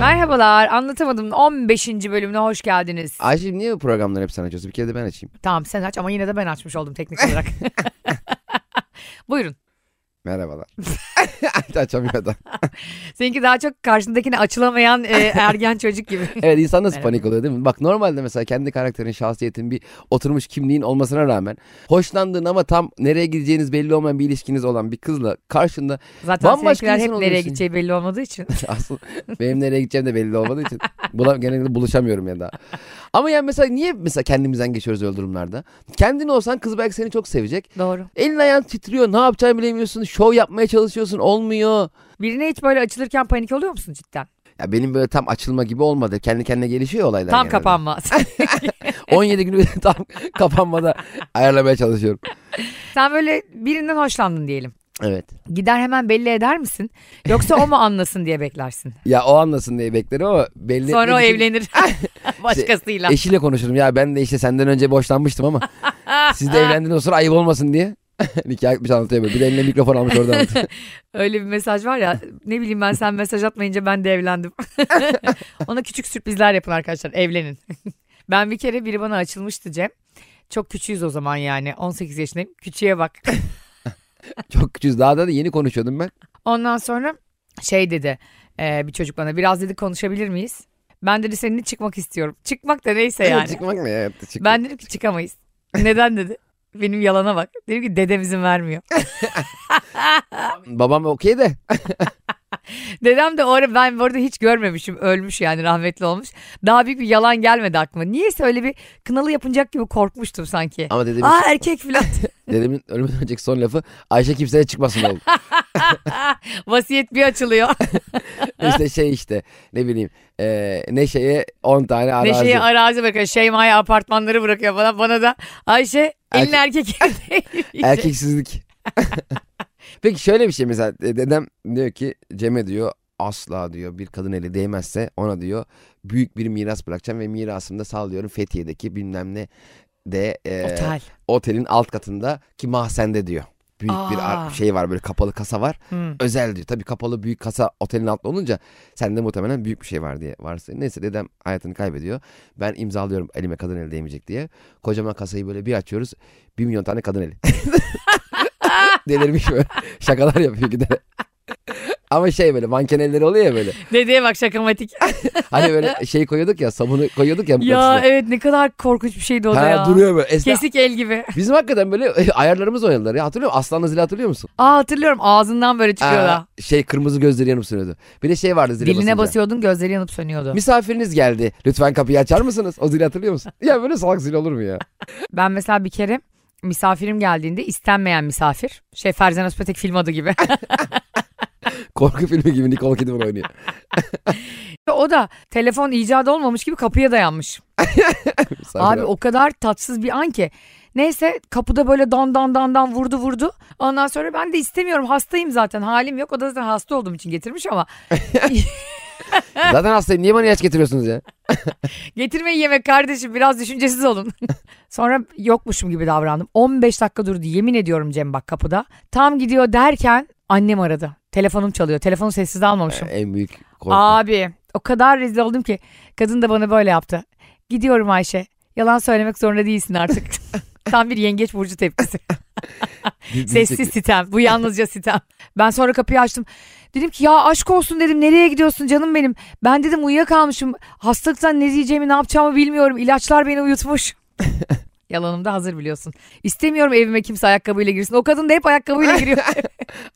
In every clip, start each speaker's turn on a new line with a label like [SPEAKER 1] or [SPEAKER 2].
[SPEAKER 1] Merhabalar anlatamadım 15. bölümüne hoş geldiniz.
[SPEAKER 2] Ayşe'cim niye bu programları hep sen açıyorsun? Bir kere de ben açayım.
[SPEAKER 1] Tamam sen aç ama yine de ben açmış oldum teknik olarak. Buyurun.
[SPEAKER 2] Merhabalar. Açamıyor da.
[SPEAKER 1] Seninki daha çok karşındakine açılamayan e, ergen çocuk gibi.
[SPEAKER 2] Evet insan nasıl
[SPEAKER 1] Merhaba.
[SPEAKER 2] panik oluyor değil mi? Bak normalde mesela kendi karakterin, şahsiyetin bir oturmuş kimliğin olmasına rağmen hoşlandığın ama tam nereye gideceğiniz belli olmayan bir ilişkiniz olan bir kızla karşında
[SPEAKER 1] Zaten
[SPEAKER 2] Bambaşka
[SPEAKER 1] seninkiler hep
[SPEAKER 2] insan
[SPEAKER 1] nereye
[SPEAKER 2] oluyorsun.
[SPEAKER 1] gideceği belli olmadığı için.
[SPEAKER 2] aslında benim nereye gideceğim de belli olmadığı için bulam genelde buluşamıyorum ya da. Ama yani mesela niye mesela kendimizden geçiyoruz öyle durumlarda? Kendin olsan kız belki seni çok sevecek.
[SPEAKER 1] Doğru.
[SPEAKER 2] Elin ayağın titriyor, ne yapacağını bilemiyorsun, şov yapmaya çalışıyorsun, olmuyor.
[SPEAKER 1] Birine hiç böyle açılırken panik oluyor musun cidden?
[SPEAKER 2] Ya benim böyle tam açılma gibi olmadı. Kendi kendine gelişiyor olaylar.
[SPEAKER 1] Tam
[SPEAKER 2] genelde.
[SPEAKER 1] kapanma.
[SPEAKER 2] 17 günü tam kapanmada ayarlamaya çalışıyorum.
[SPEAKER 1] sen böyle birinden hoşlandın diyelim.
[SPEAKER 2] Evet.
[SPEAKER 1] Gider hemen belli eder misin? Yoksa o mu anlasın diye beklersin.
[SPEAKER 2] Ya o anlasın diye beklerim ama belli
[SPEAKER 1] Sonra o
[SPEAKER 2] etmek için
[SPEAKER 1] evlenir.
[SPEAKER 2] Şey,
[SPEAKER 1] Başkasıyla.
[SPEAKER 2] Eşiyle konuşurum ya ben de işte senden önce boşlanmıştım ama siz de evlendiğiniz sonra ayıp olmasın diye. Nikah etmiş anlatıyor böyle. Bir de eline mikrofon almış orada anlatıyor.
[SPEAKER 1] Öyle bir mesaj var ya ne bileyim ben sen mesaj atmayınca ben de evlendim. Ona küçük sürprizler yapın arkadaşlar evlenin. ben bir kere biri bana açılmıştı Cem. Çok küçüğüz o zaman yani 18 yaşındayım küçüğe bak.
[SPEAKER 2] Çok küçüğüz. Daha da yeni konuşuyordum ben.
[SPEAKER 1] Ondan sonra şey dedi e, bir çocuk bana biraz dedi konuşabilir miyiz? Ben dedi seninle çıkmak istiyorum. Çıkmak da neyse yani.
[SPEAKER 2] Çıkmak ne ya? Çık-
[SPEAKER 1] ben dedim ki çıkamayız. Neden dedi. Benim yalana bak. Dedim ki dedem izin vermiyor.
[SPEAKER 2] Babam okey de.
[SPEAKER 1] Dedem de o ara ben bu arada hiç görmemişim. Ölmüş yani rahmetli olmuş. Daha büyük bir yalan gelmedi aklıma. Niyeyse öyle bir kınalı yapınacak gibi korkmuştum sanki.
[SPEAKER 2] Ama dedemin,
[SPEAKER 1] Aa erkek filan.
[SPEAKER 2] dedemin ölümden önceki son lafı Ayşe kimseye çıkmasın oğlum.
[SPEAKER 1] Vasiyet bir açılıyor.
[SPEAKER 2] işte şey işte ne bileyim e, Neşe'ye 10 tane arazi.
[SPEAKER 1] Neşe'ye arazi bırakıyor. Şeyma'ya apartmanları bırakıyor falan. Bana da Ayşe elin erkek.
[SPEAKER 2] Erkeksizlik. Peki şöyle bir şey mesela e, dedem diyor ki Cem'e diyor asla diyor bir kadın eli değmezse ona diyor büyük bir miras bırakacağım ve mirasımda sallıyorum Fethiye'deki bilmem ne de e,
[SPEAKER 1] Otel.
[SPEAKER 2] otelin alt katında ki mahzende diyor. Büyük bir ar-
[SPEAKER 1] Aa.
[SPEAKER 2] şey var böyle kapalı kasa var.
[SPEAKER 1] Hı.
[SPEAKER 2] Özel diyor. Tabii kapalı büyük kasa otelin altında olunca sende muhtemelen büyük bir şey var diye varsa. Neyse dedem hayatını kaybediyor. Ben imzalıyorum elime kadın eli değmeyecek diye. Kocaman kasayı böyle bir açıyoruz. Bir milyon tane kadın eli. Delirmiş böyle. Şakalar yapıyor giderek. Ama şey böyle manken elleri oluyor ya böyle.
[SPEAKER 1] Dedeye bak şakamatik.
[SPEAKER 2] Hani böyle şey koyuyorduk ya sabunu koyuyorduk ya.
[SPEAKER 1] ya
[SPEAKER 2] mıknatısla.
[SPEAKER 1] evet ne kadar korkunç bir şeydi o da
[SPEAKER 2] Ha,
[SPEAKER 1] ya.
[SPEAKER 2] duruyor böyle. Esna-
[SPEAKER 1] Kesik el gibi.
[SPEAKER 2] Bizim hakikaten böyle e, ayarlarımız oynadılar ya. Hatırlıyor musun? Aslanla zili hatırlıyor musun?
[SPEAKER 1] Aa hatırlıyorum ağzından böyle çıkıyor da.
[SPEAKER 2] Aa, şey kırmızı gözleri yanıp sönüyordu. Bir de şey vardı zile
[SPEAKER 1] Diline
[SPEAKER 2] basınca.
[SPEAKER 1] basıyordun gözleri yanıp sönüyordu.
[SPEAKER 2] Misafiriniz geldi. Lütfen kapıyı açar mısınız? O zili hatırlıyor musun? ya böyle salak zil olur mu ya?
[SPEAKER 1] Ben mesela bir kere misafirim geldiğinde istenmeyen misafir. Şey Ferzan Özpetek film adı gibi.
[SPEAKER 2] Korku filmi gibi Nicole Kidman oynuyor.
[SPEAKER 1] Ve o da telefon icadı olmamış gibi kapıya dayanmış.
[SPEAKER 2] Misafir
[SPEAKER 1] Abi o kadar tatsız bir an ki. Neyse kapıda böyle dan dan dan dan vurdu vurdu. Ondan sonra ben de istemiyorum hastayım zaten halim yok. O da zaten hasta olduğum için getirmiş ama
[SPEAKER 2] Zaten hastayım. Niye bana ilaç getiriyorsunuz ya?
[SPEAKER 1] Getirmeyin yemek kardeşim biraz düşüncesiz olun. Sonra yokmuşum gibi davrandım. 15 dakika durdu yemin ediyorum Cem bak kapıda. Tam gidiyor derken annem aradı. Telefonum çalıyor. Telefonu sessiz almamışım.
[SPEAKER 2] en büyük korku.
[SPEAKER 1] Abi o kadar rezil oldum ki kadın da bana böyle yaptı. Gidiyorum Ayşe. Yalan söylemek zorunda değilsin artık. Tam bir yengeç burcu tepkisi.
[SPEAKER 2] Dil- dil
[SPEAKER 1] Sessiz
[SPEAKER 2] çekiyor.
[SPEAKER 1] sitem. Bu yalnızca sitem. Ben sonra kapıyı açtım. Dedim ki ya aşk olsun dedim. Nereye gidiyorsun canım benim? Ben dedim uyuyakalmışım. Hastalıktan ne diyeceğimi ne yapacağımı bilmiyorum. İlaçlar beni uyutmuş. Yalanım da hazır biliyorsun. İstemiyorum evime kimse ayakkabıyla girsin. O kadın da hep ayakkabıyla giriyor.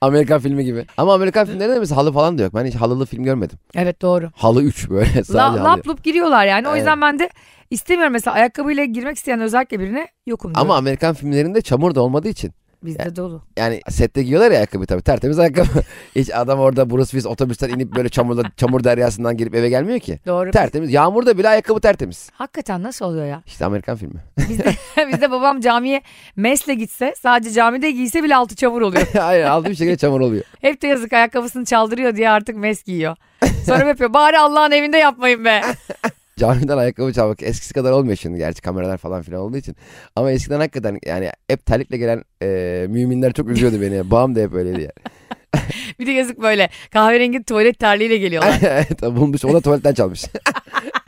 [SPEAKER 2] Amerikan filmi gibi. Ama Amerikan filmlerinde de mesela halı falan da yok. Ben hiç halılı film görmedim.
[SPEAKER 1] evet doğru.
[SPEAKER 2] Halı 3 böyle sadece
[SPEAKER 1] La,
[SPEAKER 2] halı yok.
[SPEAKER 1] lap lup giriyorlar yani. O
[SPEAKER 2] Evet.
[SPEAKER 1] yüzden ben de istemiyorum mesela ayakkabıyla girmek isteyen özellikle birine yokum diyorum.
[SPEAKER 2] Ama Amerikan filmlerinde çamur da olmadığı için.
[SPEAKER 1] Bizde dolu.
[SPEAKER 2] Yani sette giyiyorlar ya ayakkabı tabii tertemiz ayakkabı. Hiç adam orada Bruce Willis otobüsten inip böyle çamurda, çamur deryasından girip eve gelmiyor ki.
[SPEAKER 1] Doğru.
[SPEAKER 2] Tertemiz. Yağmurda bile ayakkabı tertemiz.
[SPEAKER 1] Hakikaten nasıl oluyor ya?
[SPEAKER 2] İşte Amerikan filmi.
[SPEAKER 1] Bizde, bizde babam camiye mesle gitse sadece camide giyse bile altı çamur oluyor.
[SPEAKER 2] Hayır aldığı bir şekilde çamur oluyor.
[SPEAKER 1] Hep de yazık ayakkabısını çaldırıyor diye artık mes giyiyor. Sonra hep yapıyor. Bari Allah'ın evinde yapmayın be.
[SPEAKER 2] Camiden ayakkabı çalmak eskisi kadar olmuyor şimdi gerçi kameralar falan filan olduğu için. Ama eskiden hakikaten yani hep terlikle gelen e, müminler çok üzüyordu beni. Babam da hep öyleydi yani.
[SPEAKER 1] bir de yazık böyle kahverengi tuvalet terliğiyle geliyorlar.
[SPEAKER 2] evet bulmuş. şey, O da tuvaletten çalmış.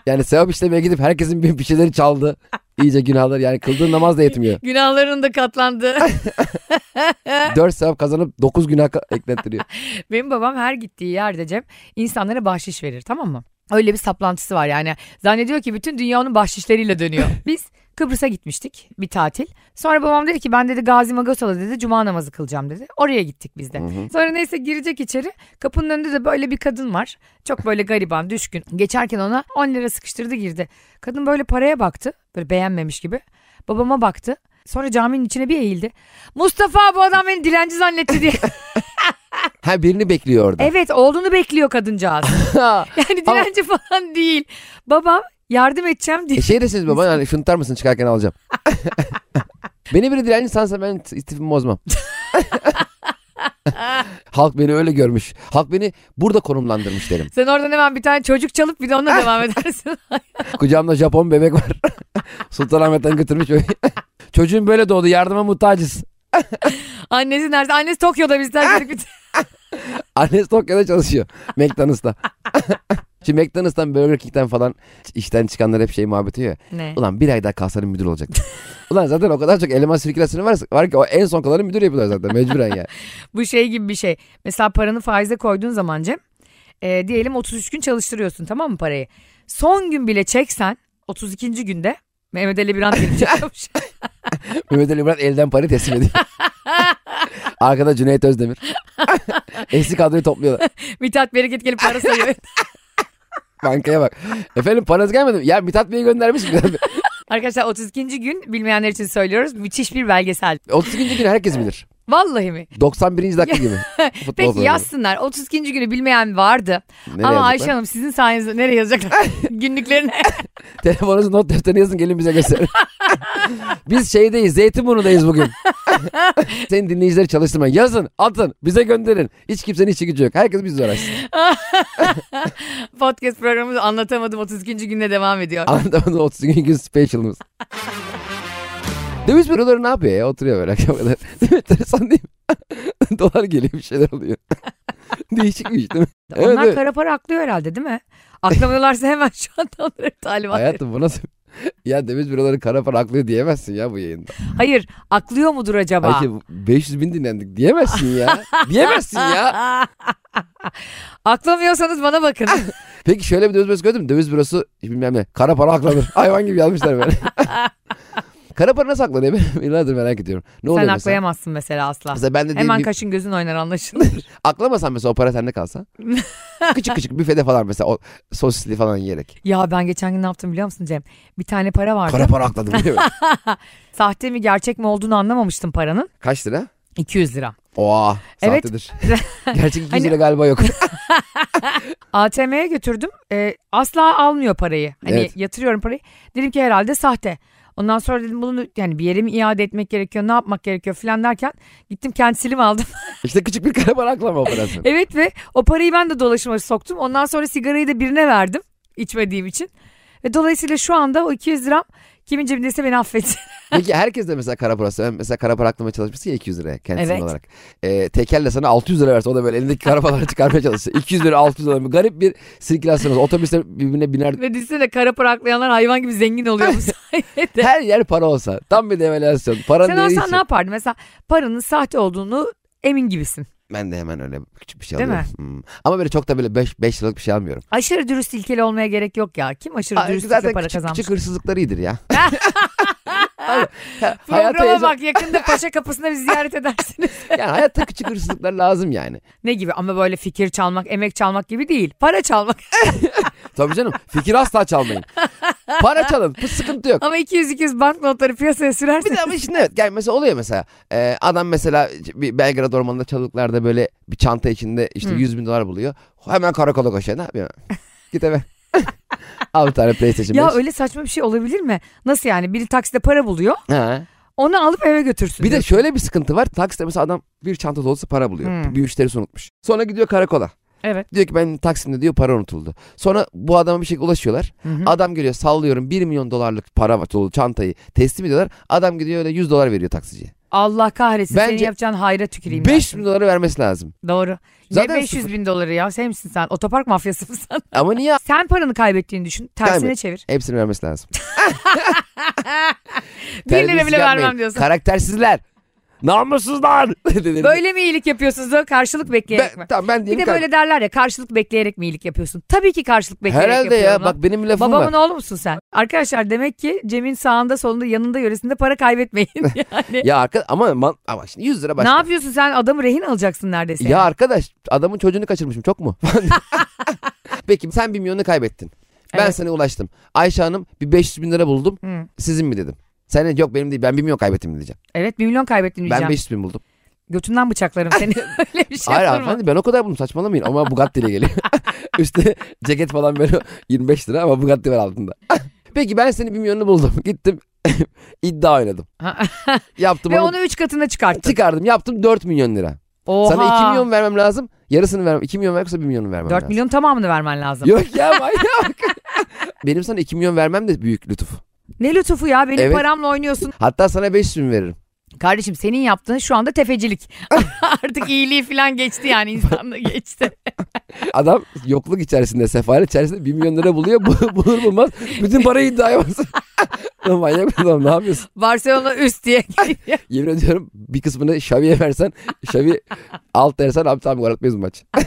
[SPEAKER 2] yani sevap işlemeye gidip herkesin bir, bir şeyleri çaldı. İyice günahlar. Yani kıldığın namaz da yetmiyor.
[SPEAKER 1] Günahların da katlandı.
[SPEAKER 2] 4 sevap kazanıp 9 günah ka- eklettiriyor.
[SPEAKER 1] Benim babam her gittiği yerde Cem insanlara bahşiş verir tamam mı? Öyle bir saplantısı var yani. Zannediyor ki bütün dünya onun bahşişleriyle dönüyor. Biz Kıbrıs'a gitmiştik bir tatil. Sonra babam dedi ki ben dedi Gazi Magosol'a dedi cuma namazı kılacağım dedi. Oraya gittik biz de.
[SPEAKER 2] Hı hı.
[SPEAKER 1] Sonra neyse girecek içeri. Kapının önünde de böyle bir kadın var. Çok böyle gariban, düşkün. Geçerken ona 10 lira sıkıştırdı girdi. Kadın böyle paraya baktı. Böyle beğenmemiş gibi. Babama baktı. Sonra caminin içine bir eğildi. Mustafa bu adam beni dilenci zannetti diye.
[SPEAKER 2] Ha birini bekliyor orada.
[SPEAKER 1] evet oğlunu bekliyor kadıncağız. Yani
[SPEAKER 2] Ama-
[SPEAKER 1] dilenci falan değil. Babam yardım edeceğim diye.
[SPEAKER 2] e şey deseniz baba hani şuntar mısın çıkarken alacağım. beni biri dilenci sansa ben istifimi bozmam. Halk beni öyle görmüş. Halk beni burada konumlandırmış derim.
[SPEAKER 1] Sen oradan hemen bir tane çocuk çalıp bir de onunla devam edersin.
[SPEAKER 2] Kucağımda Japon bebek var. Sultanahmet'ten götürmüş. öyle. Çocuğum böyle doğdu yardıma muhtacız.
[SPEAKER 1] Annesi nerede? Annesi Tokyo'da biz terk ettik.
[SPEAKER 2] Annesi Tokyo'da çalışıyor. McDonald's'ta. Şimdi McDonald's'tan Burger King'den falan işten çıkanlar hep şey muhabbeti ya.
[SPEAKER 1] Ne?
[SPEAKER 2] Ulan bir ay daha kalsanın müdür olacaktı. Ulan zaten o kadar çok eleman sirkülasyonu var, var ki o en son kalanı müdür yapıyorlar zaten mecburen ya.
[SPEAKER 1] Bu şey gibi bir şey. Mesela paranı faize koyduğun zaman Cem. e, diyelim 33 gün çalıştırıyorsun tamam mı parayı? Son gün bile çeksen 32. günde Mehmet Ali Birant gelip çekmiş.
[SPEAKER 2] Mehmet Ali Murat elden parayı teslim ediyor. Arkada Cüneyt Özdemir. Eski kadroyu topluyorlar.
[SPEAKER 1] Mithat Bereket gelip para sayıyor.
[SPEAKER 2] Bankaya bak. Efendim paranız gelmedi mi? Ya Mithat Bey'i göndermiş mi?
[SPEAKER 1] Arkadaşlar 32. gün bilmeyenler için söylüyoruz. Müthiş bir belgesel.
[SPEAKER 2] 32. günü herkes bilir.
[SPEAKER 1] Vallahi mi?
[SPEAKER 2] 91. dakika gibi. Futbol
[SPEAKER 1] Peki
[SPEAKER 2] programı.
[SPEAKER 1] yazsınlar. 32. günü bilmeyen vardı. Ama
[SPEAKER 2] Nereye yazdıklar?
[SPEAKER 1] Ayşe Hanım sizin sayenizde nereye yazacaklar? Günlüklerine.
[SPEAKER 2] Telefonunuzu not defterine yazın gelin bize gösterin. Biz şeydeyiz Zeytinburnu'dayız bugün. Senin dinleyicileri çalıştırma. Yazın atın bize gönderin. Hiç kimsenin işi gücü yok. Herkes bizle uğraşsın.
[SPEAKER 1] Podcast programımız anlatamadım 32. günde devam ediyor.
[SPEAKER 2] Anlatamadığım 32 gün specialımız. Döviz büroları ne yapıyor ya? Oturuyor böyle akşam kadar. Değil mi? Enteresan değil mi? Dolar geliyor bir şeyler oluyor. Değişik bir iş değil mi? Evet,
[SPEAKER 1] Onlar
[SPEAKER 2] evet.
[SPEAKER 1] kara para aklıyor herhalde değil mi? Aklamıyorlarsa hemen şu anda onları talimat verin.
[SPEAKER 2] Hayatım bu nasıl? Ya döviz büroları kara para aklıyor diyemezsin ya bu yayında.
[SPEAKER 1] Hayır aklıyor mudur acaba?
[SPEAKER 2] Ayşe 500 bin dinlendik diyemezsin ya. diyemezsin ya. Ah,
[SPEAKER 1] Aklamıyorsanız bana bakın.
[SPEAKER 2] Peki şöyle bir döviz bürosu gördün mü? Döviz bürosu bilmem ne. Kara para aklanır. Hayvan gibi yazmışlar böyle. kara para nasıl aklanıyor? Ben yıllardır merak ediyorum. Ne oluyor
[SPEAKER 1] Sen
[SPEAKER 2] mesela?
[SPEAKER 1] aklayamazsın mesela asla.
[SPEAKER 2] Mesela ben de diyelim
[SPEAKER 1] Hemen
[SPEAKER 2] bir-
[SPEAKER 1] kaşın gözün oynar anlaşılır.
[SPEAKER 2] aklamasan mesela o para sende kalsa. küçük küçük büfede falan mesela o sosisli falan yiyerek.
[SPEAKER 1] ya ben geçen gün ne yaptım biliyor musun Cem? Bir tane para vardı.
[SPEAKER 2] Kara para akladım biliyor musun?
[SPEAKER 1] Sahte mi gerçek mi olduğunu anlamamıştım paranın.
[SPEAKER 2] Kaç lira?
[SPEAKER 1] 200 lira.
[SPEAKER 2] Oha
[SPEAKER 1] Evet.
[SPEAKER 2] sahtedir. Gerçek 200
[SPEAKER 1] Hani-
[SPEAKER 2] lira galiba yok.
[SPEAKER 1] ATM'ye götürdüm. Ee, asla almıyor parayı. Hani
[SPEAKER 2] Evet.
[SPEAKER 1] yatırıyorum parayı. Dedim ki herhalde sahte. Ondan sonra dedim bunu yani bir yere mi iade etmek gerekiyor, ne yapmak gerekiyor falan derken gittim kendisini mi aldım.
[SPEAKER 2] işte küçük bir kara para aklama operasyonu.
[SPEAKER 1] evet ve o parayı ben de dolaşıma soktum. Ondan sonra sigarayı da birine verdim içmediğim için. Ve dolayısıyla şu anda o 200 liram kimin cebindeyse beni affetsin.
[SPEAKER 2] Peki herkes de mesela kara parası. Ben mesela kara para aklamaya çalışmışsın ya 200 liraya kendisi
[SPEAKER 1] Evet.
[SPEAKER 2] olarak. Ee, tekel de sana 600 lira verse o da böyle elindeki kara paraları çıkarmaya çalışsa. 200 lira 600 lira. Garip bir sirkülasyon. olsa. Otobüsler birbirine biner.
[SPEAKER 1] ve düşünsene kara paraklayanlar hayvan gibi zengin oluyor bu sayede.
[SPEAKER 2] Her yer para olsa. Tam bir devalüasyon. Para
[SPEAKER 1] Sen olsan ne yapardın? Mesela paranın sahte olduğunu emin gibisin.
[SPEAKER 2] Ben de hemen öyle küçük bir şey
[SPEAKER 1] Değil mi?
[SPEAKER 2] alıyorum. Hmm. Ama böyle çok da böyle 5 liralık bir şey almıyorum.
[SPEAKER 1] Aşırı dürüst ilkeli olmaya gerek yok ya. Kim aşırı
[SPEAKER 2] Ay,
[SPEAKER 1] dürüstlükle
[SPEAKER 2] zaten
[SPEAKER 1] para
[SPEAKER 2] küçük,
[SPEAKER 1] kazanmış?
[SPEAKER 2] küçük hırsızlıkları iyidir ya. Hayır, ha- hayata,
[SPEAKER 1] Programa
[SPEAKER 2] yaşa-
[SPEAKER 1] bak yakında paşa kapısına bizi ziyaret edersiniz.
[SPEAKER 2] yani hayatta küçük hırsızlıklar lazım yani.
[SPEAKER 1] ne gibi ama böyle fikir çalmak, emek çalmak gibi değil. Para çalmak.
[SPEAKER 2] Tabii canım fikir asla çalmayın. Para çalın bu sıkıntı yok.
[SPEAKER 1] ama 200-200 banknotları piyasaya
[SPEAKER 2] Bir
[SPEAKER 1] sürersin.
[SPEAKER 2] de ama şimdi evet yani mesela oluyor mesela Ee, adam mesela bir Belgrad ormanında çalılıklarda böyle bir çanta içinde işte
[SPEAKER 1] Hmm.
[SPEAKER 2] 100 bin dolar buluyor. Hemen karakola koşuyor ne yapıyor? Git eve. Al bir tane PlayStation
[SPEAKER 1] Ya
[SPEAKER 2] 5.
[SPEAKER 1] öyle saçma bir şey olabilir mi? Nasıl yani? Biri takside para buluyor.
[SPEAKER 2] Ha.
[SPEAKER 1] Onu alıp eve götürsün.
[SPEAKER 2] Bir de
[SPEAKER 1] diyor.
[SPEAKER 2] şöyle bir sıkıntı var. Takside mesela adam bir çanta dolusu para buluyor.
[SPEAKER 1] Hmm.
[SPEAKER 2] Bir müşterisi unutmuş. Sonra gidiyor karakola.
[SPEAKER 1] Evet.
[SPEAKER 2] Diyor ki ben Taksim'de diyor para unutuldu. Sonra bu adama bir şekilde ulaşıyorlar.
[SPEAKER 1] Hı hı.
[SPEAKER 2] Adam geliyor sallıyorum 1 milyon dolarlık para var dolu çantayı teslim ediyorlar. Adam gidiyor öyle 100 dolar veriyor taksiciye.
[SPEAKER 1] Allah kahretsin senin
[SPEAKER 2] Bence
[SPEAKER 1] yapacağın hayra tüküreyim. ben
[SPEAKER 2] 500
[SPEAKER 1] şimdi.
[SPEAKER 2] bin dolara vermesi lazım.
[SPEAKER 1] Doğru.
[SPEAKER 2] Zaten
[SPEAKER 1] ne 500
[SPEAKER 2] sıfır.
[SPEAKER 1] bin doları ya? Sen misin sen? Otopark mafyası mısın?
[SPEAKER 2] Ama niye
[SPEAKER 1] sen paranı kaybettiğini düşün. Tersine
[SPEAKER 2] Kaybet.
[SPEAKER 1] çevir.
[SPEAKER 2] hepsini vermesi lazım?
[SPEAKER 1] 1 lira
[SPEAKER 2] Terbiyesiz
[SPEAKER 1] bile
[SPEAKER 2] yapmayın.
[SPEAKER 1] vermem diyorsun.
[SPEAKER 2] Karaktersizler. Namussuzlar. Dedim.
[SPEAKER 1] Böyle mi iyilik yapıyorsunuz o karşılık bekleyerek mi?
[SPEAKER 2] ben, tamam ben
[SPEAKER 1] Bir
[SPEAKER 2] diyeyim.
[SPEAKER 1] de böyle derler ya karşılık bekleyerek mi iyilik yapıyorsun? Tabii ki karşılık bekleyerek
[SPEAKER 2] Herhalde
[SPEAKER 1] yapıyorum.
[SPEAKER 2] ya bak benim bir lafım
[SPEAKER 1] Babamın
[SPEAKER 2] var.
[SPEAKER 1] oğlu musun sen? Arkadaşlar demek ki Cem'in sağında solunda yanında yöresinde para kaybetmeyin. yani.
[SPEAKER 2] Ya arkadaş ama, man- ama şimdi 100 lira
[SPEAKER 1] ne
[SPEAKER 2] başka.
[SPEAKER 1] yapıyorsun sen adamı rehin alacaksın neredeyse.
[SPEAKER 2] Ya arkadaş adamın çocuğunu kaçırmışım çok mu? Peki sen bir milyonu kaybettin. Ben
[SPEAKER 1] Evet.
[SPEAKER 2] sana ulaştım. Ayşe Hanım bir 500 bin lira buldum.
[SPEAKER 1] Hı.
[SPEAKER 2] Sizin mi dedim. Sen de yok benim değil ben bir milyon kaybettim diyeceğim.
[SPEAKER 1] Evet 1 milyon kaybettin diyeceğim.
[SPEAKER 2] Ben 500 bin buldum.
[SPEAKER 1] Götünden bıçaklarım seni. Öyle bir şey
[SPEAKER 2] Hayır
[SPEAKER 1] olur mu?
[SPEAKER 2] hanımefendi ben o kadar buldum saçmalamayın ama Bugatti ile geliyor. Üstüne ceket falan böyle 25 lira ama Bugatti var altında. Peki ben seni bir milyonunu buldum. Gittim iddia oynadım.
[SPEAKER 1] Ha.
[SPEAKER 2] Yaptım
[SPEAKER 1] Ve
[SPEAKER 2] onu,
[SPEAKER 1] onu 3 katına çıkarttın.
[SPEAKER 2] çıkardım yaptım 4 milyon lira.
[SPEAKER 1] Oha.
[SPEAKER 2] Sana 2 milyon vermem lazım. Yarısını vermem. 2 milyon ver yoksa 1 milyonu vermem
[SPEAKER 1] 4
[SPEAKER 2] lazım.
[SPEAKER 1] milyon tamamını vermen lazım.
[SPEAKER 2] Yok ya manyak. Benim sana 2 milyon vermem de büyük lütuf.
[SPEAKER 1] Ne lütufu ya benim
[SPEAKER 2] Evet.
[SPEAKER 1] paramla oynuyorsun.
[SPEAKER 2] Hatta sana 500 bin veririm.
[SPEAKER 1] Kardeşim senin yaptığın şu anda tefecilik. Artık iyiliği falan geçti yani insanla geçti.
[SPEAKER 2] Adam yokluk içerisinde, sefalet içerisinde 1 milyon lira buluyor. Bu- Bulur bulmaz bütün parayı iddiaya basıyor. Lan manyak bir adam ne yapıyorsun?
[SPEAKER 1] Barcelona üst diye geliyor.
[SPEAKER 2] Yemin ediyorum bir kısmını Xavi'ye versen, Xavi alt dersen abi tamam gol atmayız bu maç.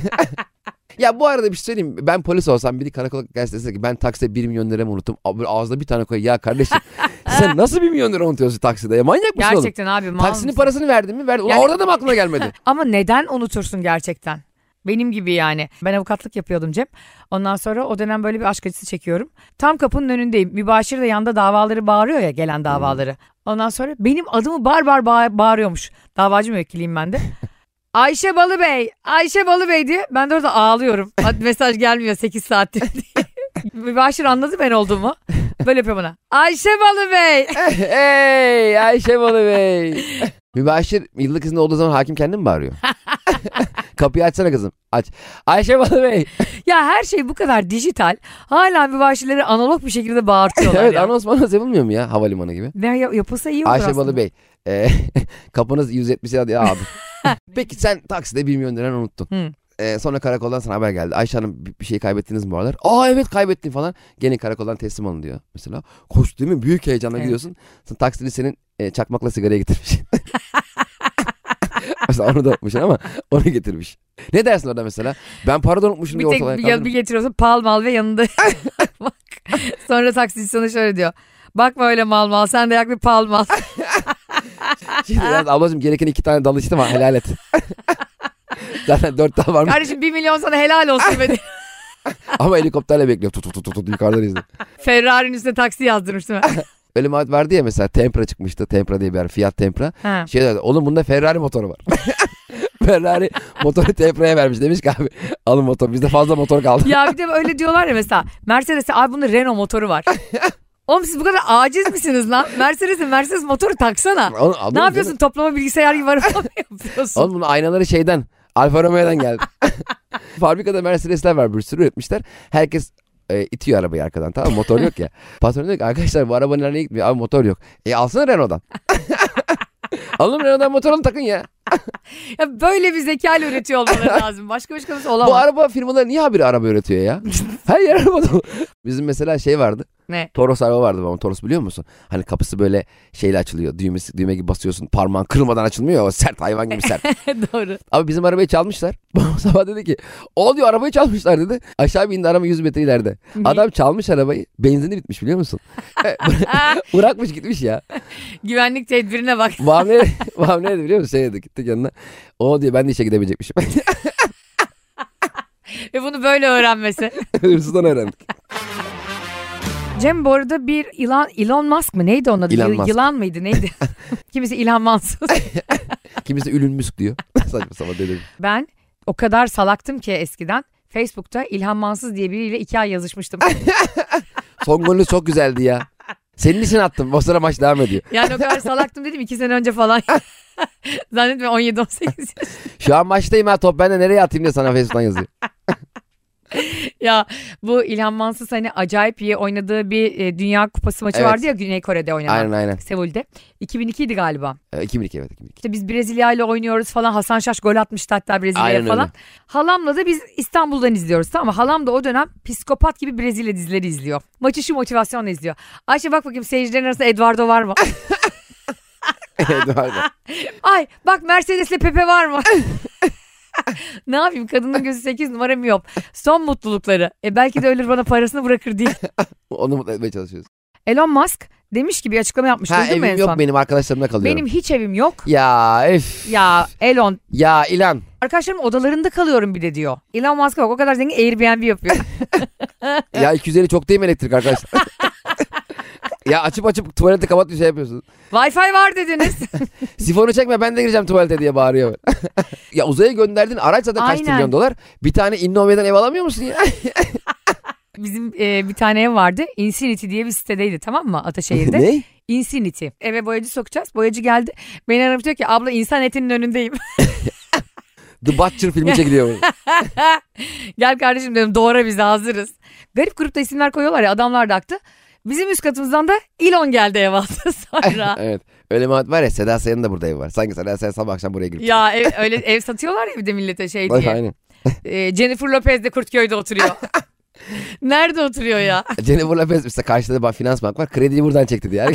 [SPEAKER 2] ya bu arada bir şey söyleyeyim. mi? Ben polis olsam biri karakola gelse dese ki ben taksiye 1 milyon lira mı unuttum? Abi Böyle ağzına bir tane koy. Ya kardeşim sen nasıl 1 milyon lira unutuyorsun takside? Ya manyak mısın oğlum?
[SPEAKER 1] Gerçekten abi mal
[SPEAKER 2] Taksinin
[SPEAKER 1] mısın?
[SPEAKER 2] parasını verdin mi? Verdin. Ulan
[SPEAKER 1] Yani-
[SPEAKER 2] Orada da mı aklına gelmedi?
[SPEAKER 1] Ama neden unutursun gerçekten? Benim gibi yani. Ben avukatlık yapıyordum Cem. Ondan sonra o dönem böyle bir aşk acısı çekiyorum. Tam kapının önündeyim. Mübaşir de yanda davaları bağırıyor ya gelen davaları. Ondan sonra benim adımı bar bar bağ- bağırıyormuş. Davacı müvekkiliyim ben de. Ayşe Balıbey, Ayşe Balıbey diye. Ben de orada ağlıyorum. Hadi mesaj gelmiyor 8 saattir diye. Mübaşir anladı ben olduğumu. Böyle yapıyor bana. Ayşe Balıbey.
[SPEAKER 2] hey Ayşe Balı Bey. Mübaşir yıllık izinde olduğu zaman hakim kendi mi bağırıyor? Kapıyı açsana kızım. Aç. Ayşe Balı Bey.
[SPEAKER 1] Ya her şey bu kadar dijital. Hala mübaşirleri analog bir şekilde bağırtıyorlar
[SPEAKER 2] evet
[SPEAKER 1] ya.
[SPEAKER 2] anons bana yapılmıyor mu ya havalimanı gibi?
[SPEAKER 1] Ne ya- yapılsa iyi olur
[SPEAKER 2] Ayşe
[SPEAKER 1] aslında.
[SPEAKER 2] Balı Bey. e, kapınız 170 lira diye abi. Peki sen takside 1 milyon liranı unuttun.
[SPEAKER 1] Hı.
[SPEAKER 2] E, sonra karakoldan sana haber geldi. Ayşe Hanım bir bir şey kaybettiniz mi bu aralar? Aa evet kaybettim falan. Gene karakoldan teslim alın diyor mesela. Koş değil mi? Büyük heyecanla
[SPEAKER 1] Evet.
[SPEAKER 2] gidiyorsun. Sen taksidi senin e, çakmakla sigaraya getirmiş. mesela onu da unutmuşsun ama onu getirmiş. Ne dersin orada mesela? Ben para da unutmuşum
[SPEAKER 1] Bir
[SPEAKER 2] diye
[SPEAKER 1] tek
[SPEAKER 2] ortalığa
[SPEAKER 1] bir, bir getiriyorsun pal mal ve yanında bak. Sonra taksici sana şöyle diyor. Bakma öyle mal mal sen de yak bir pal mal.
[SPEAKER 2] Şimdi biraz ablacığım gereken iki tane dal içtim ama helal et. Zaten dört dal varmış
[SPEAKER 1] Kardeşim bir milyon sana helal olsun be diye.
[SPEAKER 2] ama helikopterle bekliyor. Tut tut tut tut yukarıdan izliyor.
[SPEAKER 1] Ferrari'nin üstüne taksi yazdırmış değil mi?
[SPEAKER 2] Öyle muhabbet vardı ya mesela Tempra çıkmıştı. Tempra diye bir yer. Fiat Tempra.
[SPEAKER 1] Ha.
[SPEAKER 2] Şey derdi. Oğlum bunda Ferrari motoru var. Ferrari motoru Tempra'ya vermiş. Demiş ki abi alın motor. Bizde fazla motor kaldı.
[SPEAKER 1] Ya bir de öyle diyorlar ya mesela Mercedes'e abi bunda Renault motoru var. Oğlum siz bu kadar aciz misiniz lan? Mercedes'e Mercedes motoru taksana.
[SPEAKER 2] Oğlum, anladın
[SPEAKER 1] ne
[SPEAKER 2] mı?
[SPEAKER 1] yapıyorsun toplama bilgisayar gibi araba mı yapıyorsun?
[SPEAKER 2] Oğlum bunun aynaları şeyden. Alfa Romeo'dan geldi. Fabrikada Mercedes'ler var. Bir sürü üretmişler. Herkes e, itiyor arabayı arkadan tamam mı? Motor yok ya. Patron diyor ki arkadaşlar bu arabanın nereye gitmiyor? Abi motor yok. E alsana Renault'dan. alın Renault'dan motor alın takın ya.
[SPEAKER 1] Ya böyle bir zekayla üretiyor olmaları lazım. Başka başka olamaz.
[SPEAKER 2] Bu araba firmaları niye habire araba üretiyor ya? Her yer araba dolu. Bizim mesela şey vardı.
[SPEAKER 1] Ne?
[SPEAKER 2] Toros araba vardı babam. Toros biliyor musun? Hani kapısı böyle şeyle açılıyor. Düğmesi, düğme gibi basıyorsun. Parmağın kırılmadan açılmıyor. ya, O sert hayvan gibi sert.
[SPEAKER 1] Doğru.
[SPEAKER 2] Abi bizim arabayı çalmışlar. Babam sabah dedi ki o diyor arabayı çalmışlar dedi. Aşağı bindi araba 100 metre ileride. Adam çalmış arabayı. Benzini bitmiş biliyor musun? Bırakmış gitmiş ya.
[SPEAKER 1] Güvenlik tedbirine bak.
[SPEAKER 2] Babam ne, babam ne dedi biliyor musun? Şey dedi gittik yanına. O diyor ben de işe gidemeyecekmişim.
[SPEAKER 1] Ve bunu böyle öğrenmesi.
[SPEAKER 2] Hırsızdan öğrendik.
[SPEAKER 1] Cem bu arada bir Elon, Elon Musk mı? Neydi onun adı?
[SPEAKER 2] Elon
[SPEAKER 1] Yı-
[SPEAKER 2] Musk.
[SPEAKER 1] Yılan mıydı? Neydi? Kimisi Elon Musk.
[SPEAKER 2] Kimisi ülün müsk diyor. Saçma sapan dedim.
[SPEAKER 1] Ben o kadar salaktım ki eskiden. Facebook'ta İlhan Mansız diye biriyle iki ay yazışmıştım.
[SPEAKER 2] Son golünüz çok güzeldi ya. Senin için attım. O sıra maç devam ediyor.
[SPEAKER 1] Yani o kadar salaktım dedim iki sene önce falan. Zannetme 17-18 yaş.
[SPEAKER 2] Şu an maçtayım ha top ben de nereye atayım diye sana Facebook'tan yazıyor.
[SPEAKER 1] ya bu İlhan Mansız hani acayip iyi oynadığı bir e, Dünya Kupası maçı
[SPEAKER 2] Evet.
[SPEAKER 1] vardı ya Güney Kore'de oynanan.
[SPEAKER 2] Aynen aynen.
[SPEAKER 1] Seul'de. 2002 idi galiba.
[SPEAKER 2] Ee, 2002 evet 2002.
[SPEAKER 1] İşte biz Brezilya ile oynuyoruz falan. Hasan Şaş gol atmıştı hatta Brezilya'ya
[SPEAKER 2] Aynen
[SPEAKER 1] falan.
[SPEAKER 2] öyle.
[SPEAKER 1] Halamla da biz İstanbul'dan izliyoruz tamam mı? Halam da o dönem psikopat gibi Brezilya dizileri izliyor. Maçı şu motivasyonla izliyor. Ayşe bak bakayım seyircilerin arasında Eduardo var mı? Ah.
[SPEAKER 2] Eduardo.
[SPEAKER 1] Ay bak Mercedes'le Pepe var mı? ne yapayım kadının gözü 8 numara mı yok? Son mutlulukları. E belki de ölür bana parasını bırakır diye.
[SPEAKER 2] Onu mutlu etmeye çalışıyoruz.
[SPEAKER 1] Elon Musk demiş ki bir açıklama yapmış.
[SPEAKER 2] Ha,
[SPEAKER 1] Duydun mu
[SPEAKER 2] evim
[SPEAKER 1] en
[SPEAKER 2] yok
[SPEAKER 1] son?
[SPEAKER 2] benim arkadaşlarımda kalıyorum.
[SPEAKER 1] Benim hiç evim yok.
[SPEAKER 2] Ya üf.
[SPEAKER 1] Ya Elon
[SPEAKER 2] Ya İlan.
[SPEAKER 1] arkadaşlarım odalarında kalıyorum bir de diyor. Elon Musk'a bak o kadar zengin Airbnb yapıyor.
[SPEAKER 2] Ya 250 çok değil mi elektrik arkadaşlar? ya açıp açıp tuvaleti kapat bir şey yapıyorsun.
[SPEAKER 1] Wi-Fi var dediniz.
[SPEAKER 2] Sifonu çekme ben de gireceğim tuvalete diye bağırıyor. ya uzaya gönderdin araç zaten kaç
[SPEAKER 1] Aynen.
[SPEAKER 2] trilyon dolar. Bir tane Innovia'dan ev alamıyor musun ya?
[SPEAKER 1] Bizim e, bir tane ev vardı. Infinity diye bir sitedeydi tamam mı Ataşehir'de?
[SPEAKER 2] ne?
[SPEAKER 1] Infinity. Eve boyacı sokacağız. Boyacı geldi. Beni aramış diyor ki abla insan etinin önündeyim.
[SPEAKER 2] The Butcher filmi çekiliyor.
[SPEAKER 1] Gel kardeşim dedim doğara biz hazırız. Garip grupta isimler koyuyorlar ya adamlar da aktı. Bizim üst katımızdan da Elon geldi ev aldı sonra.
[SPEAKER 2] evet. Öyle muhabbet var ya Seda Sayan'ın da burada evi var. Sanki Seda Sayan sabah akşam buraya girip.
[SPEAKER 1] ya ev, öyle ev satıyorlar ya bir de millete şey
[SPEAKER 2] Bak,
[SPEAKER 1] diye.
[SPEAKER 2] aynen.
[SPEAKER 1] E, Jennifer Lopez de Kurtköy'de oturuyor. Nerede oturuyor ya?
[SPEAKER 2] Jennifer Lopez işte karşıda da ba- finans bank var. Krediyi buradan çekti diye.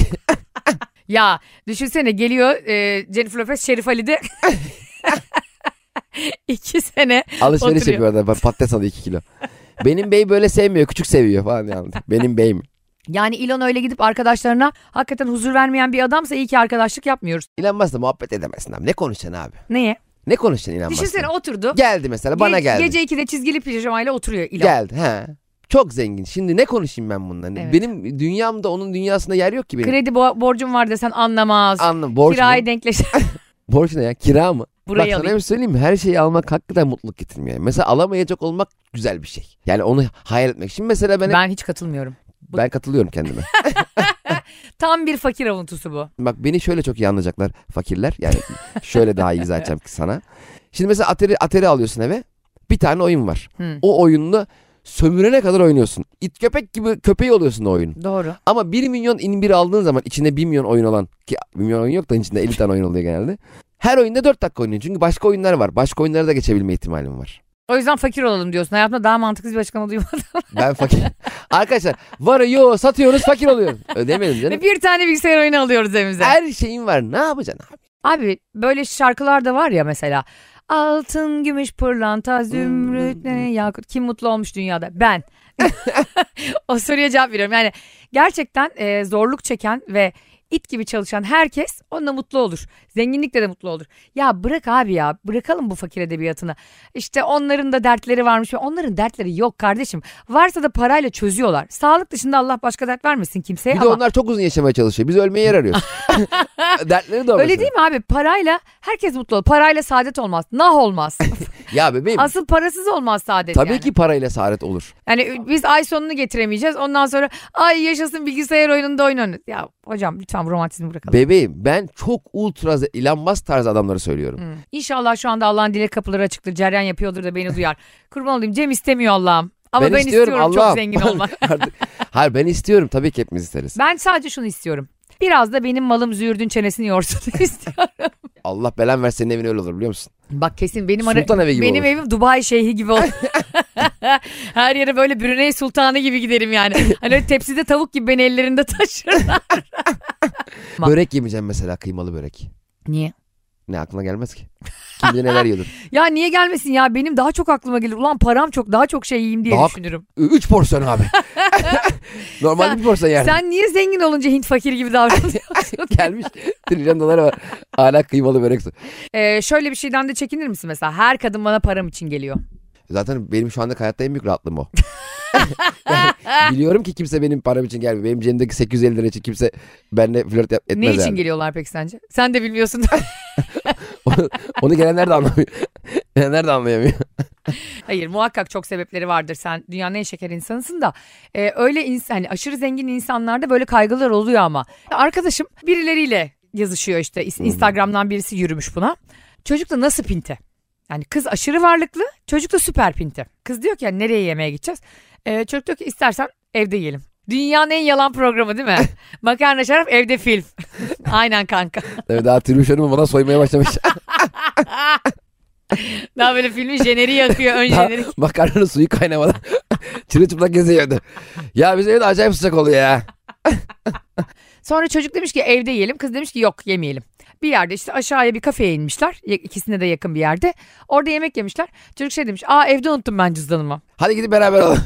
[SPEAKER 1] Ya düşünsene geliyor e, Jennifer Lopez Şerif Ali'de. İki sene
[SPEAKER 2] Alışveriş
[SPEAKER 1] Oturuyor.
[SPEAKER 2] yapıyor orada. Bak, Patates alıyor 2 kilo. Benim bey böyle sevmiyor. Küçük seviyor falan yani. Benim beyim.
[SPEAKER 1] Yani Elon öyle gidip arkadaşlarına hakikaten huzur vermeyen bir adamsa iyi ki arkadaşlık yapmıyoruz.
[SPEAKER 2] İlan Musk'la muhabbet edemezsin abi. Ne konuşacaksın abi?
[SPEAKER 1] Neye?
[SPEAKER 2] Ne konuşacaksın İlan Musk'la?
[SPEAKER 1] Düşünsene oturdu.
[SPEAKER 2] Geldi mesela bana
[SPEAKER 1] Ge-
[SPEAKER 2] geldi.
[SPEAKER 1] Gece 2'de çizgili pijamayla oturuyor Elon.
[SPEAKER 2] Geldi ha. Çok zengin. Şimdi ne konuşayım ben bundan?
[SPEAKER 1] Evet.
[SPEAKER 2] Benim dünyamda onun dünyasında yer yok ki benim.
[SPEAKER 1] Kredi bo- borcum var desen anlamaz.
[SPEAKER 2] Anlam. Borç
[SPEAKER 1] Kirayı
[SPEAKER 2] mu?
[SPEAKER 1] denkleştir.
[SPEAKER 2] Borç ne ya? Kira mı? Bak
[SPEAKER 1] Burayı
[SPEAKER 2] sana
[SPEAKER 1] alayım.
[SPEAKER 2] bir şey söyleyeyim mi? Her şeyi almak hakikaten mutluluk getirmiyor. Mesela alamayacak olmak güzel bir şey. Yani onu hayal etmek. Şimdi mesela ben,
[SPEAKER 1] Ben hiç katılmıyorum.
[SPEAKER 2] ben katılıyorum kendime.
[SPEAKER 1] Tam bir fakir avuntusu bu.
[SPEAKER 2] Bak beni şöyle çok iyi anlayacaklar fakirler. Yani şöyle daha iyi izah edeceğim ki sana. Şimdi mesela ateri, ateri alıyorsun eve. Bir tane oyun var.
[SPEAKER 1] Hı.
[SPEAKER 2] O oyunla sömürene kadar oynuyorsun. İt köpek gibi köpeği oluyorsun o oyunun.
[SPEAKER 1] Doğru.
[SPEAKER 2] Ama 1 milyon in bir aldığın zaman içinde 1 milyon oyun olan ki 1 milyon oyun yok da içinde 50 tane oyun oluyor genelde. Her oyunda 4 dakika oynuyorsun. Çünkü başka oyunlar var. Başka oyunlara da geçebilme ihtimalim var.
[SPEAKER 1] O yüzden fakir olalım diyorsun. Hayatımda daha mantıksız bir açıklama duymadım.
[SPEAKER 2] Ben fakir. Arkadaşlar varı yo satıyoruz fakir oluyoruz. Ödemedim canım.
[SPEAKER 1] Ve bir tane bilgisayar oyunu alıyoruz evimize.
[SPEAKER 2] Her şeyin var. Ne yapacaksın abi?
[SPEAKER 1] Abi böyle şarkılar da var ya mesela. Altın, gümüş, pırlanta,
[SPEAKER 2] Hmm.
[SPEAKER 1] zümrüt, ne, yakut. Kim mutlu olmuş dünyada? Ben. o soruya cevap veriyorum. Yani gerçekten e, zorluk çeken ve it gibi çalışan herkes onunla mutlu olur. Zenginlikle de mutlu olur. Ya bırak abi ya bırakalım bu fakir edebiyatını. İşte onların da dertleri varmış. Onların dertleri yok kardeşim. Varsa da parayla çözüyorlar. Sağlık dışında Allah başka dert vermesin kimseye
[SPEAKER 2] Bir de
[SPEAKER 1] ama.
[SPEAKER 2] onlar çok uzun yaşamaya çalışıyor. Biz ölmeye yer arıyoruz. Dertleri de o mesela.
[SPEAKER 1] Öyle değil mi abi? Parayla herkes mutlu olur. Parayla saadet olmaz. Nah olmaz.
[SPEAKER 2] Ya bebeğim
[SPEAKER 1] Asıl parasız olmaz saadet
[SPEAKER 2] tabii
[SPEAKER 1] yani.
[SPEAKER 2] ki parayla saadet olur.
[SPEAKER 1] Yani biz ay sonunu getiremeyeceğiz. Ondan sonra ay yaşasın bilgisayar oyununda oynanır. Ya hocam lütfen bu romantizmi bırakalım.
[SPEAKER 2] Bebeğim ben çok ultra ze- Elon Musk tarzı adamları söylüyorum.
[SPEAKER 1] Hı. İnşallah şu anda Allah'ın dile kapıları açıktır. Ceryan yapıyordur da beni duyar. Kurban olayım Cem istemiyor Allah'ım. Ama ben, istiyorum, çok
[SPEAKER 2] Allah'ım.
[SPEAKER 1] zengin olmak.
[SPEAKER 2] Artık- Hayır ben istiyorum tabii ki hepimiz isteriz.
[SPEAKER 1] Ben sadece şunu istiyorum. Biraz da benim malım züğürdün çenesini yorsun istiyorum.
[SPEAKER 2] Allah belan verse senin evin öyle olur biliyor musun?
[SPEAKER 1] Bak kesin benim ara-
[SPEAKER 2] Sultan evi gibi
[SPEAKER 1] benim
[SPEAKER 2] olur.
[SPEAKER 1] evim Dubai şeyhi gibi olur. Her yere böyle Brunei Sultanı gibi giderim yani. Hani öyle tepside tavuk gibi beni ellerinde taşırlar. Ma-
[SPEAKER 2] Börek yemeyeceğim mesela kıymalı börek.
[SPEAKER 1] Niye?
[SPEAKER 2] Ne aklına gelmez ki? Kim bilir neler yiyordur.
[SPEAKER 1] Ya niye gelmesin ya benim daha çok aklıma gelir. Ulan param çok daha çok şey yiyeyim diye
[SPEAKER 2] Daha-
[SPEAKER 1] düşünürüm.
[SPEAKER 2] Ü- Üç porsiyon abi. Normalde
[SPEAKER 1] Sen-
[SPEAKER 2] bir porsiyon yani.
[SPEAKER 1] Sen niye zengin olunca Hint fakir gibi davranıyorsun?
[SPEAKER 2] Gelmiş trilyon dolara var. Hala kıymalı börek. sor-
[SPEAKER 1] Ee, şöyle bir şeyden de çekinir misin mesela? Her kadın bana param için geliyor.
[SPEAKER 2] Zaten benim şu anda hayatta en büyük rahatlığım o. Yani biliyorum ki kimse benim param için gelmiyor. Benim cebimdeki 850 lira için kimse benimle flört yap- etmez
[SPEAKER 1] ne için
[SPEAKER 2] yani.
[SPEAKER 1] geliyorlar peki sence? Sen de bilmiyorsun.
[SPEAKER 2] onu, onu gelenler de anlamıyor. gelenler de anlayamıyor.
[SPEAKER 1] Hayır muhakkak çok sebepleri vardır. Sen dünyanın en şeker insanısın da. Ee, öyle insan, hani aşırı zengin insanlarda böyle kaygılar oluyor ama. Arkadaşım birileriyle yazışıyor işte. İs- Instagram'dan birisi yürümüş buna. Çocuk da nasıl pinte? Yani kız aşırı varlıklı, çocuk da süper pinti. Kız diyor ki yani nereye yemeğe gideceğiz? Ee, çocuk diyor ki istersen evde yiyelim. Dünyanın en yalan programı değil mi? Makarna şarap evde film. Aynen kanka.
[SPEAKER 2] Tabii daha Timuş Hanım bana soymaya başlamış.
[SPEAKER 1] Daha böyle filmin jeneriği yakıyor ön
[SPEAKER 2] Daha
[SPEAKER 1] jenerik.
[SPEAKER 2] Makarnanın suyu kaynamadan çırılçıplak geziyordu. Ya bizim evde acayip sıcak oluyor ya.
[SPEAKER 1] Sonra çocuk demiş ki evde yiyelim. Kız demiş ki yok yemeyelim. Bir yerde işte aşağıya bir kafeye inmişler. Ya- İkisine de yakın bir yerde. Orada yemek yemişler. Çocuk şey demiş. Aa evde unuttum ben cüzdanımı.
[SPEAKER 2] Hadi gidip beraber olalım.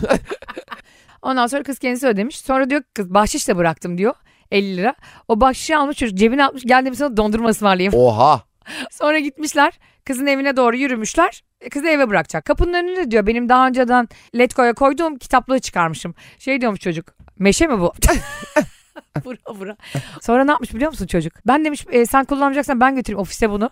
[SPEAKER 1] Ondan sonra kız kendisi ödemiş. Sonra diyor ki kız bahşiş de bıraktım diyor. 50 lira. O bahşişi almış çocuk cebine atmış. Gel demiş sana dondurma ısmarlayayım.
[SPEAKER 2] Oha.
[SPEAKER 1] Sonra gitmişler. Kızın evine doğru yürümüşler. E, Kızı eve bırakacak. Kapının önünde diyor benim daha önceden Letgo'ya koyduğum kitaplığı çıkarmışım. Şey diyormuş çocuk. Meşe mi bu? bura bura. Sonra ne yapmış biliyor musun çocuk? Ben demiş "e, sen kullanmayacaksan ben götüreyim ofise bunu.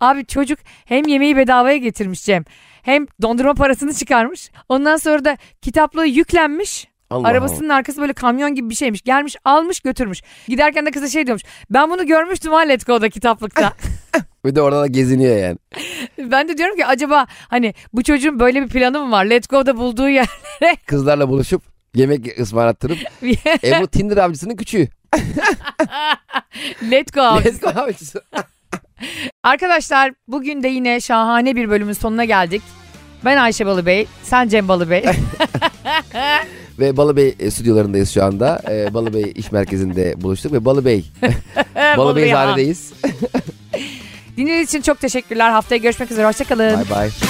[SPEAKER 1] Abi çocuk hem yemeği bedavaya getirmiş Cem. Hem dondurma parasını çıkarmış. Ondan sonra da kitaplığı yüklenmiş.
[SPEAKER 2] Allah
[SPEAKER 1] Arabasının arkası böyle kamyon gibi bir şeymiş. Gelmiş almış götürmüş. Giderken de kıza şey diyormuş. Ben bunu görmüştüm ha Letgo'da kitaplıkta.
[SPEAKER 2] Allah. Bir de orada da geziniyor yani.
[SPEAKER 1] Ben de diyorum ki acaba hani bu çocuğun böyle bir planı mı var? Let's Go'da bulduğu yer.
[SPEAKER 2] Kızlarla buluşup yemek ısmarlattırıp. e bu Tinder avcısının küçüğü.
[SPEAKER 1] Let's Go.
[SPEAKER 2] Let's go avcısı.
[SPEAKER 1] Arkadaşlar bugün de yine şahane bir bölümün sonuna geldik. Ben Ayşe Balıbey, sen Cem Balıbey.
[SPEAKER 2] Ve Balıbey e, stüdyolarındayız şu anda. E, Balıbey iş merkezinde buluştuk ve Balıbey. Balıbey
[SPEAKER 1] Balıbey Han.
[SPEAKER 2] zadedeyiz.
[SPEAKER 1] Dinlediğiniz için çok teşekkürler. Haftaya görüşmek üzere. Hoşçakalın.
[SPEAKER 2] Bye bye.